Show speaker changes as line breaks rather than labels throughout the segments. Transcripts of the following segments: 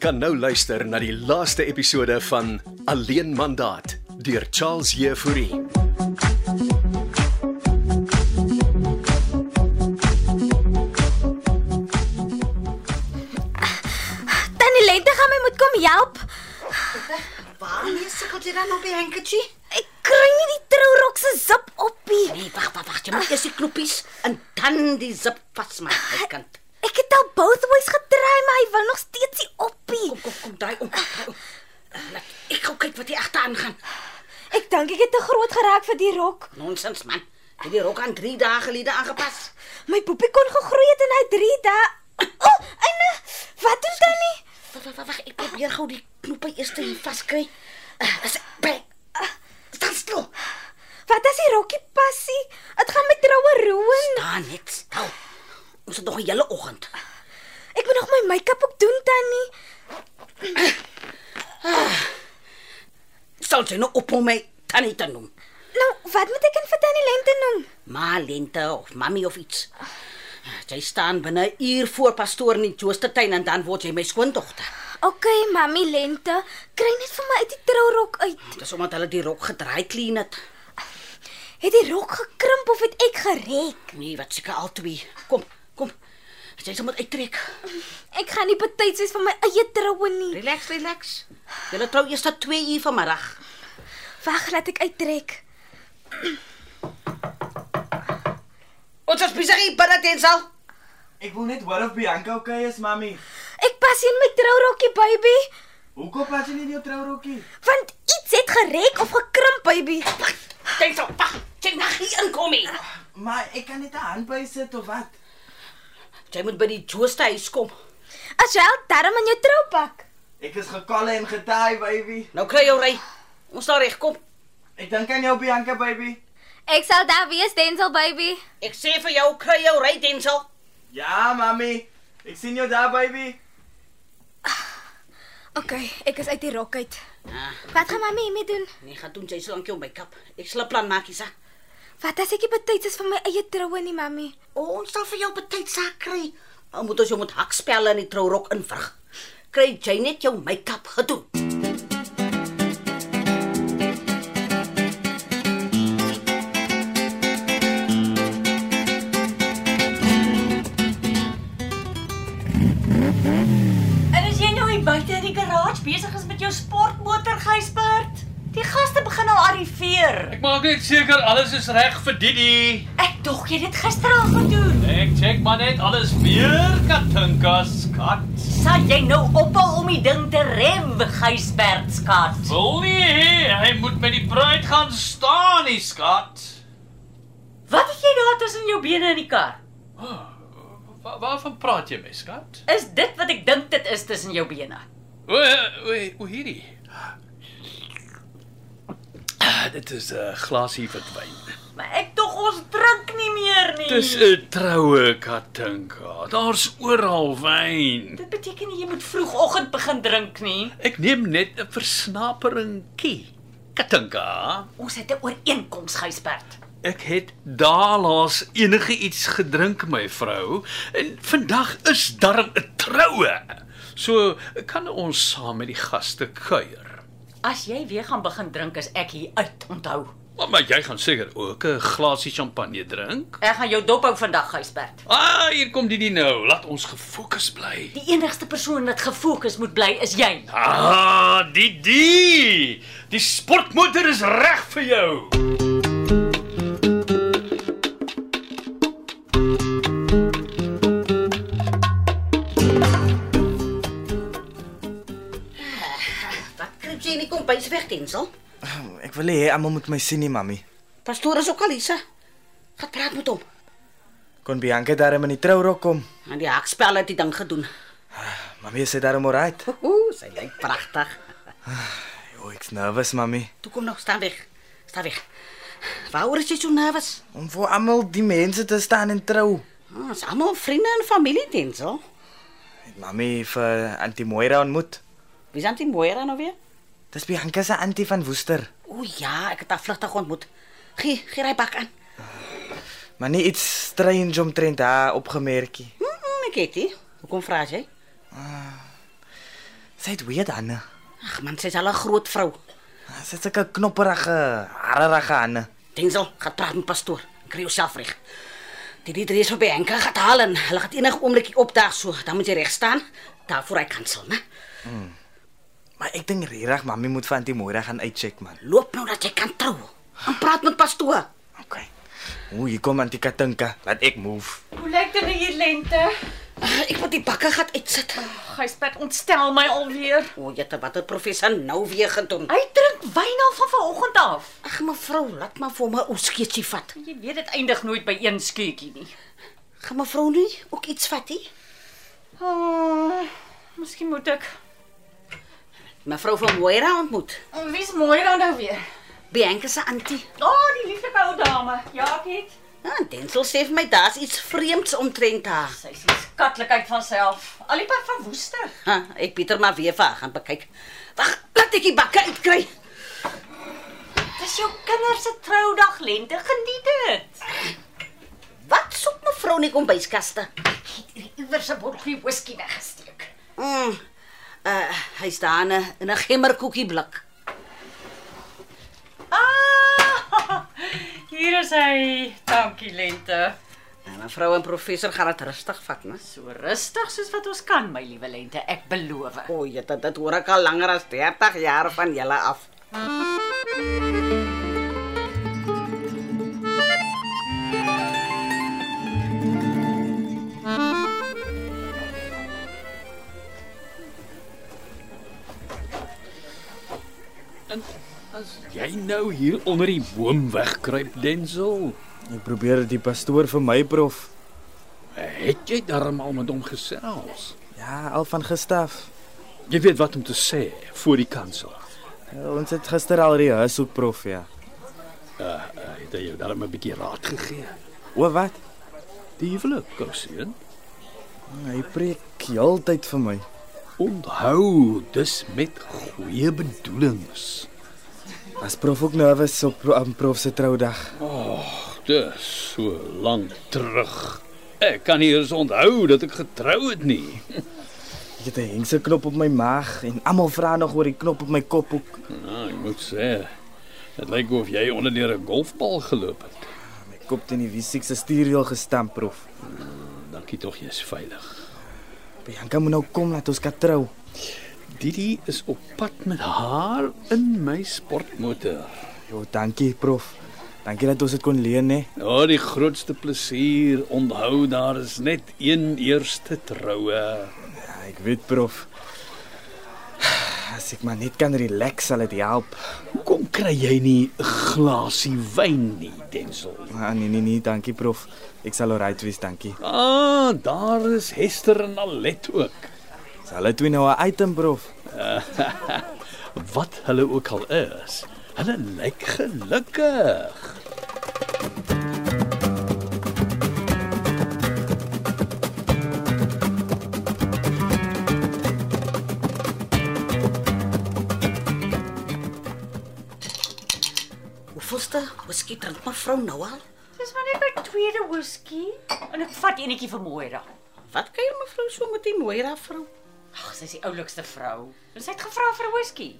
kan nou luister na die laaste episode van Alleen Mandaat deur Charles Jefouri.
Eh,
Tannie Lente gaan my moet kom help.
Waarmee sukkel jy dan op die handkertjie?
Ek kry nie die trourok se zip op nie.
Nee, wag, wag, wag, jy moet eers die knoppies en dan die zip vasmaak,
Ah.
my kind.
Ek het al both ways getry, maar hy wil nog steeds nie op nie.
Kom, kom, kom, daai om. draai om. Laat ek gou kyk wat hier agteraan gaan.
Ek dink ek het te groot geraak vir die rok.
Nonsens man. Jy het die rok aan 3 dae gelede aangepas.
My poepie kon gegroei het in hy 3 dae. O, oh, en eh, wat doen tannie?
Wag, wag, wag, wag, ek probeer gou die knoppe eers te hier vaskry. Eh, As by. Staan stil.
Wat as die rokkie passie? Dit gaan my troue roon.
Daar net stil. Ons het nog 'n hele oggend.
Ek moet nog my make-up ook doen tannie.
Sal jy nou op om my tannie te noem?
Nou, wat moet ek in vir tannie Lente noem?
Ma lente of mami of iets. Jy staan binne 'n uur voor pastoor in die Joostetuin en dan word jy my skoondogter.
OK, mami Lente, kry net vir my uit die trourok uit.
Dis omdat hulle die rok gedraai clean het.
Het die rok gekrimp of het ek gerek?
Nee, wat seker al twee. Kom, kom. Jy sal moet uittrek.
Ek gaan nie betyds wees van my eie troue nie.
Relax, relax. Julle trou eers tot 2 uur vanmiddag.
Wag, laat ek uittrek.
Ons is besig hier binne tensel.
Ek wil net hoor of Bianca okay is, mami.
Ek pas in my trourokkie, baby,
Hoekom pas jy nie jou trourokkie?
want iets het gerek of gekrimp, baby.
Tensel, wag. Jy mag nou, hier inkom hier.
Maar ek kan net 'n hand bysit of wat?
Jy moet by die Joostehuis kom.
As jy al darm in jou troupak.
Ek is gekalle en getaai, baby.
Nou kry jou ry. Ons daar reg kom.
Ek dink aan jou Bianca, baby.
Ek sal daar wees, Denzel, baby.
Ek sê vir jou, kry jou ry Tensel.
Ja, mami. Ek sien jou daar, baby.
OK, ek is uit die rok uit.
Ah.
Wat gaan mami hiermee doen?
Nee, gaan doen jy so lank jou make-up. Ek sal 'n plan maak, Isa.
Wat as ek nie betyds is vir my eie troue nie, mami?
O, ons sal vir jou betyds saak kry. Nou moet ons jou met hakspelle in die trourok invrug. Kry jy net jou make-up gedoen.
En as jy nou hier buite in die garage besig is met jou sportmotor gysbert, die gaste begin al arriveer.
Ek maak net seker alles is reg vir Didi.
Ek dog jy het dit gisteraand gedoen.
Ek check maar net alles weer, Katinka skat.
Sal jy nou ophou om die ding te rem, gysbert skat?
Wil nie hê hy moet met die bruid gaan staan nie, skat.
Wat het jy daar tussen jou bene in die kar?
Wa waarvan praat jy, my skat?
Is dit wat ek dink dit is tussen jou bene?
O, eh, o, o hierdie. Ah, Dit is 'n uh, glasie witwyn.
Maar ek dog ons drink nie meer nie.
Dis 'n troue Katinka. Daar's oral wyn.
Dit beteken nie jy moet vroegoggend begin drink nie.
Ek neem net 'n versnaperingkie. Katinka.
Ons het 'n ooreenkoms, gysbert.
Ek het daalaas enige iets gedrink my vrou en vandag is darm 'n troue. So kan ons saam met die gaste kuier.
As jy weer gaan begin drink, is ek hier uit, onthou.
Maar, maar jy gaan seker ook 'n glasie champagne drink.
Ek gaan jou dop hou vandag, Gysbert.
Ah, hier kom Didi nou. Laat ons gefokus bly.
Die enigste persoon wat gefokus moet bly is jy.
Ah, Didi! Die sportmotor is reg vir jou.
Wat kruip jy in die kombuis weg, Tensel?
Ek Ehm, wil hê almal moet my sien nie, mami.
Pastoor is ook al Isa. Gaan praat met hom.
Kon Bianca daar in die trourok kom?
En die hakspel het die ding gedoen.
Mami, is sy daar alright?
Ooh, sy lyk pragtig.
O, ek's nervous, mami.
Toe kom nou staan weg. Staan weg. Waaroor is jy so nervus?
Om vir almal die mense te staan en trou.
Ons oh, almal vriende en familie, Tensel.
Het mami vir Auntie Moira ontmoet.
Wie sien dit mooi aan nou weer?
Dis Bianca se auntie van Woester.
O ja, ek het haar vlugtig ontmoet. Gie, gee hy bak aan.
Maar nie iets strange omtrent haar opgemerkie.
Mm, mm, ek weet dit. Hoekom vra jy?
Sy het weet Hanne.
Ag man, sy's al 'n groot vrou.
Sy het sulke knopperige, harerige Hanne.
Denzel, gaan praat met pastoor. Kry jouself reg. Die die drie sou by Henk gaan haal en hulle gaan enige oomblikie opdaag so, dan moet jy reg staan. Daarvoor hy kansel, né?
Maar ek dink regtig mami moet vir Auntie Moira gaan uitcheck man.
Loop nou dat jy kan trou. En praat met pastoor.
OK. Ooh, hier kom Auntie Katinka. Laat ek move.
Hoe lyk dit nou hier lente?
Ag, Ek moet die bakke gat uitsit.
Gysbert ontstel my alweer.
O, jette, wat het professor nou weer gedoen?
Hy drink wyn al van vanoggend af.
Ag mevrou, laat maar vir my ou skeetjie vat.
Jy weet dit eindig nooit by een skeuutjie nie.
Gaan mevrou nie ook iets vat nie?
Oh, miskien moet ek.
Mevrou van Moira ontmoet.
Wie's mooi dan nou weer?
By Henk se antie.
O, oh, die lieflike ou dame. Ja, Piet.
Ah, Denzel sê vir my daar's iets vreemds omtrent haar.
Sy is die skatlikheid van self. Al die pad van Woester.
Ha, ek Pieter maar weer vir haar gaan bekyk. Wag, laat ek die bakke uitkry.
Dis jou kinders se troudag lente. Geniet dit.
Wat soek mevrou in die kombuiskaste?
Het hier iewers 'n bottelie whisky weggesteek.
Mm. Uh, hy's daar in 'n- in 'n gemmerkoekie blik.
Ah! Hier is hy. Dankie lente.
Nou, mevrou en professor gaan dit rustig vat, né?
So rustig soos wat ons kan, my liewe lente. Ek beloof.
O, jy dit dit hoor ek al langer as 30 jaar van julle af.
Jy nou hier onder die boom wegkruip, Denzel.
Ek probeer die pastoor vir my prof.
Het jy darm al met hom gesels?
Ja, al van gestaf.
Jy weet wat om te sê voor die kansel.
Ons het gister al rehearsal prof ja.
Uh, het hy jou darm 'n bietjie raad gegee?
O wat?
Die huwelik, Kousien.
Hmm, Hy preek heeltyd vir my.
Onthou, dis met goeie bedoelings.
Was prof ook nervus op pro- aan prof se troudag.
Dis so lank terug. Ek kan nie eens onthou dat ek getrou het nie.
Ek het 'n hengse knop op my maag en almal vra nog oor die knop op my kophoek.
Nou, ek moet sê, dit lyk of jy onder deur 'n golfbal geloop het.
My kop teen die W6 se stuurwiel gestamp prof.
Dankie tog jy's veilig.
Bianca moet nou kom laat ons kan trou.
Didi is op pad met haar in my sportmotor.
Jo, dankie prof. Dankie dat ons dit kon leen hè.
O, oh, die grootste plesier. Onthou daar is net een eerste troue.
Ja, ek weet prof. As ek maar net kan relax sal dit help.
Hoekom kry jy nie 'n glasie wyn nie, Denzel?
Ah, nee nee nee, dankie prof. Ek sal alright wees, dankie.
Ah, daar is Hester en Alet ook.
Is hulle twee nou 'n item prof?
Wat hulle ook al is. Hulle lyk gelukkig.
Hoeveelste whisky drink mevrou nou al?
Dis maar net my tweede whisky en ek vat enetjie vir Moira.
Wat kuier mevrou so met die mooi ra vrou?
Ag, sy is die oulikste vrou. En sy het gevra vir 'n whisky.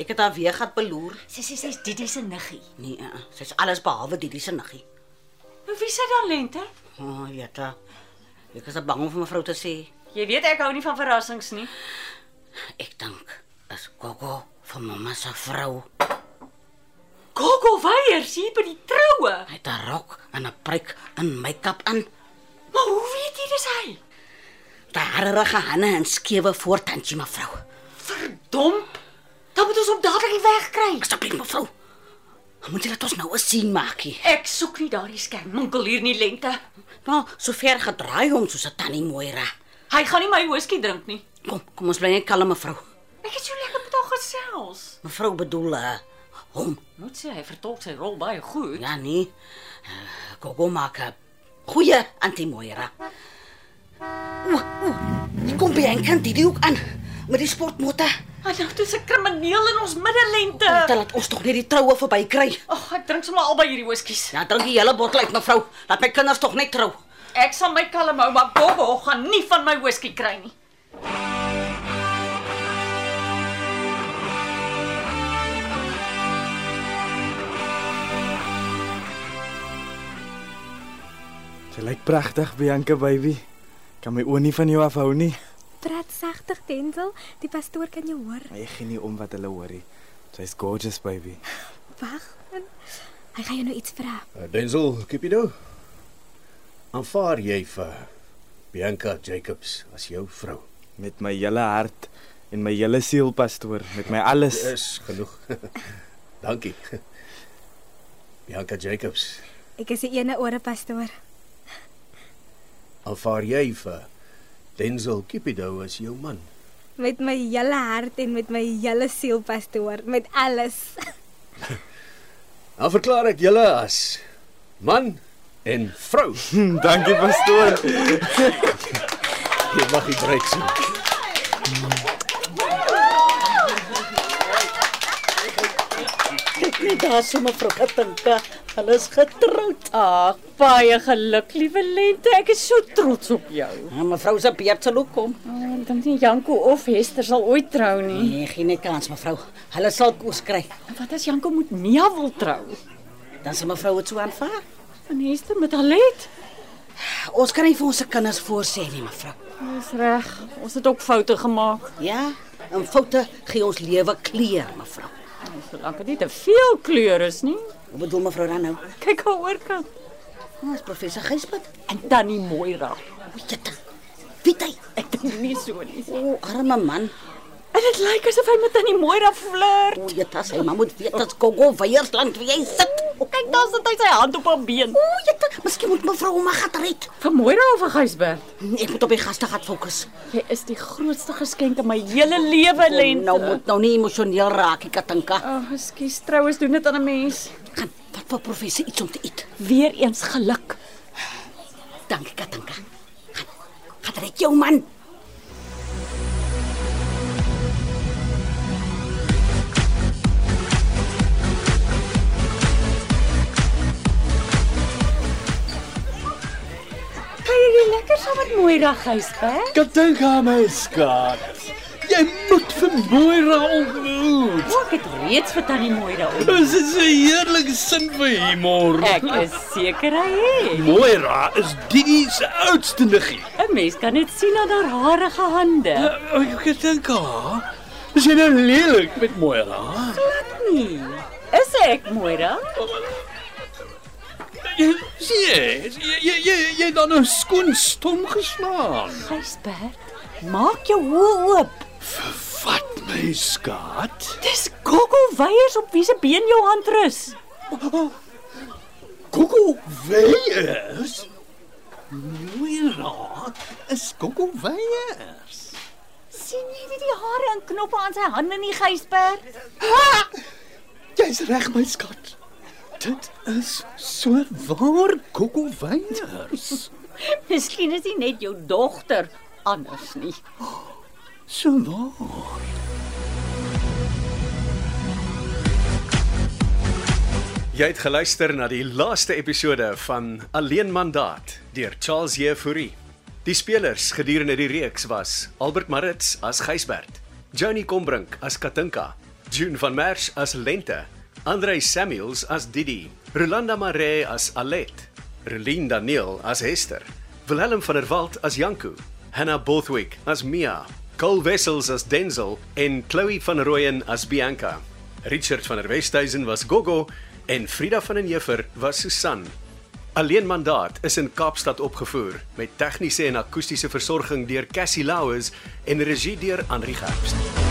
Ek het haar weer gat beloer.
Sy sê sy's Didi se niggie.
Nee, uh, sy's alles behalwe Didi se niggie.
Maar wie sê dan lente?
O, oh, jette. Ek is bang om vir mevrou te sê.
Jy weet ek hou nie van verrassings nie.
Ek dink is Gogo van mamma se vrou.
Gogo weier sien by die troue.
Hy het 'n rok en 'n pruik en make-up aan.
Maar hoe weet jy dis hy?
Daarerige hande en skewe voortandjie mevrou.
Domp. Dan moet ons hom dadelik wegkry.
Asseblief mevrou. Moet jy laat ons nou 'n sien maak hier.
Ek soek nie daardie skerminkel hier nie lente.
Nou, so ver gedraai hom soos 'n tannie Moira.
Hy gaan nie my whisky drink nie.
Kom, kom ons bly net kalm mevrou.
Ek het so lekker met haar gesels.
Mevrou bedoel uh, hom.
Moet sê hy vertolk sy rol baie goed.
Ja nee. Eh, Gogo maak 'n goeie antie Moira. Oeh, oeh. Kom by en kan dit ook aan met die sportmotor.
Hy nou dis 'n krimineel in ons middelente.
Dit laat ons tog net die troue verby kry.
Ag, ek drink sommer albei hierdie whiskies.
Ja, drink die hele bottel uit mevrou. Laat my kinders tog net trou.
Ek sal my kalm hou, maar Gogo gaan nie van my whisky kry nie.
Jy lyk pragtig, Bianca baby. Kan my oë nie van jou afhou nie.
Praat sagtig, Denzel, die pastoor kan jou hoor.
Maar ek gee nie om wat hulle hoor nie. Sy's gorgeous baby.
Wag. en- Hy gaan jou nou iets vra.
Denzel, Cupido. nou? Aanvaar jy vir Bianca Jacobs as jou vrou?
Met my hele hart en my hele siel pastoor, met my alles.
Dis genoeg. Dankie. Bianca Jacobs,
Ek is die ene ore pastoor.
aanvaar jy vir Denzel Cupido nou as jou man?
Met my hele hart en met my hele siel pastoor, met alles.
Dan verklaar ek julle as man en vrou.
Dankie pastoor.
Jy mag nie breek sien.
Kyk net daar so mevrou Katinka. Hulle is getroud.
Ag, baie geluk, liewe Lente. Ek is so trots op jou.
Nou, mevrou se beurt sal ook kom.
Oh, ek dink nie Janko of Hester sal ooit trou nie.
Nee, geen net kans mevrou. Hulle sal kos kry.
Wat as Janko moet Mia wil trou?
Dan sal mevrou dit so aanvaar.
En Hester met Alet?
Ons kan nie vir ons se kinders voorsê nie, mevrou.
Dis reg. Ons het ook foute gemaak.
Ja, en foute gee ons lewe kleur, mevrou.
Solank dit nie te veel kleur is nie.
Wat bedoel mevrou dan nou?
Kyk haar oorkant.
Ons professor Gysbert.
En tannie Moira.
Jette. Wie hy?
Ek dink nie so nie.
O, arme man.
En dit lyk asof hy met tannie Moira flirt.
O, jette, sy mamma moet weet dat Gogo Weiersland wie hy sit. O,
Kyk, daar sit hy sy hand op haar been.
o jette, miskien moet mevrou hom gaan red.
Vir Moira of vir Gysbert?
Nee, Ek moet op die gaste gaan fokus.
Jy is die grootste geskenk in my hele lewe,
O,
Lente.
Nou moet nou nie emosioneel raak, ek katinka.
Ag, oh, skus, trouens doen dit aan 'n mens.
Gaan, wat vir professor iets om te eet.
Weereens geluk.
Dankie katinka. Gaan, gaan red jou man.
Kan jy lekker saam met Moira Gysbert?
Ek dink aan my skat. Jy moet vir Moira ontmoet.
Ek het reeds vir tannie Moira op.
Dis is 'n heerlike sin vir humor.
Ek is seker hy het.
Moira is Didi se oudste niggie.
'n Mens kan net sien aan haar harige hande.
Uh, Ek dink haar. Is jy nou lelik met Moira?
Nee. Is ek Moira?
Jy sien, jy jy jy- jy het dan nou skoon stom geslaan.
Gysbert, maak jou hoë oop.
Vat my skat.
Dis Gogo Weyers op wie se been jou hand rus.
Gogo Weyers. Moira is Gogo Weyers.
sien jy nie die hare en knoppe aan sy hande nie, Gysbert?
Jy's reg my skat. Dit is so waar Gogo Weyers.
Miskien is hy net jou dogter anders nie.
So waar.
Jy het geluister na die laaste episode van Alleen Mandaat deur Charles Jefouri. Die spelers gedurende die reeks was Albert Maritz as Gysbert, Johnny Combrink as Katinka, June van Merwe as Lente, Andrei Samuels as Didi, Rolanda Maree as Alet, Relien Daniel as Hester, Willem van der Walt as Janku, Hannah Bothwick as Mia, Cole Wessels as Denzel en Chloe van Rooyen as Bianca. Richard van der Westhuizen was Gogo en Frida van den Heever was Susan. Alleen mandaat is in Kaapstad opgevoer met tegniese en akoestiese versorging deur Cassie Louws en regie deur Henri Gerst.